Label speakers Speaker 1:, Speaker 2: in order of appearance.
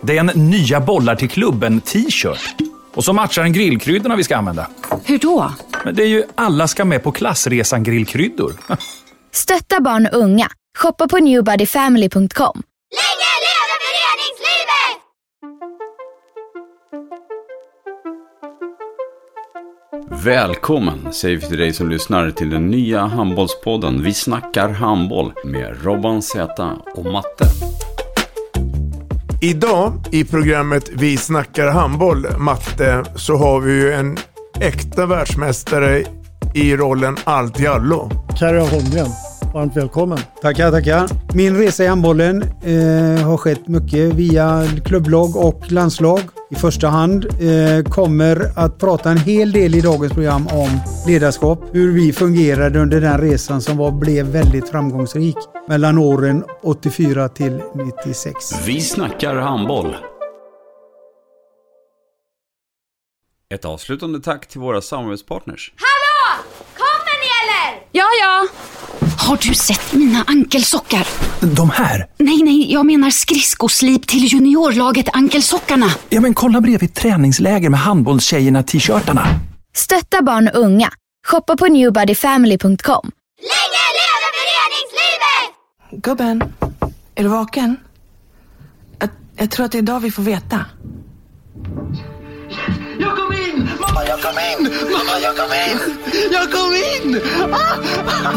Speaker 1: Det är en nya bollar till klubben-t-shirt. Och så matchar den grillkryddorna vi ska använda.
Speaker 2: Hur då?
Speaker 1: Men det är ju alla ska med på klassresan grillkryddor.
Speaker 3: Stötta barn och unga. Shoppa på newbodyfamily.com.
Speaker 4: Länge leve föreningslivet!
Speaker 5: Välkommen säger vi till dig som lyssnar till den nya handbollspodden Vi snackar handboll med Robban Z och Matte.
Speaker 6: Idag i programmet Vi snackar handboll, Matte, så har vi ju en äkta världsmästare i rollen allt i allo.
Speaker 7: Carro Holmgren, varmt välkommen.
Speaker 8: Tackar, tackar. Min resa i handbollen eh, har skett mycket via klubblag och landslag. I första hand eh, kommer att prata en hel del i dagens program om ledarskap, hur vi fungerade under den resan som var, blev väldigt framgångsrik mellan åren 84 till 96.
Speaker 5: Vi snackar handboll. Ett avslutande tack till våra samarbetspartners.
Speaker 4: Hallå! Kommer ni eller?
Speaker 2: Ja, ja. Har du sett mina ankelsockar?
Speaker 1: De här?
Speaker 2: Nej, nej, jag menar skridskoslip till juniorlaget Ankelsockarna.
Speaker 1: Ja, men kolla bredvid träningsläger med handbollstjejerna-t-shirtarna.
Speaker 3: Stötta barn och unga. Shoppa på newbodyfamily.com.
Speaker 4: Länge leve föreningslivet!
Speaker 9: Gubben, är du vaken? Jag, jag tror att det är idag vi får veta.
Speaker 10: Jag kom in! Mamma, jag kom in! Mamma, jag kom in! Jag kom in! Ah!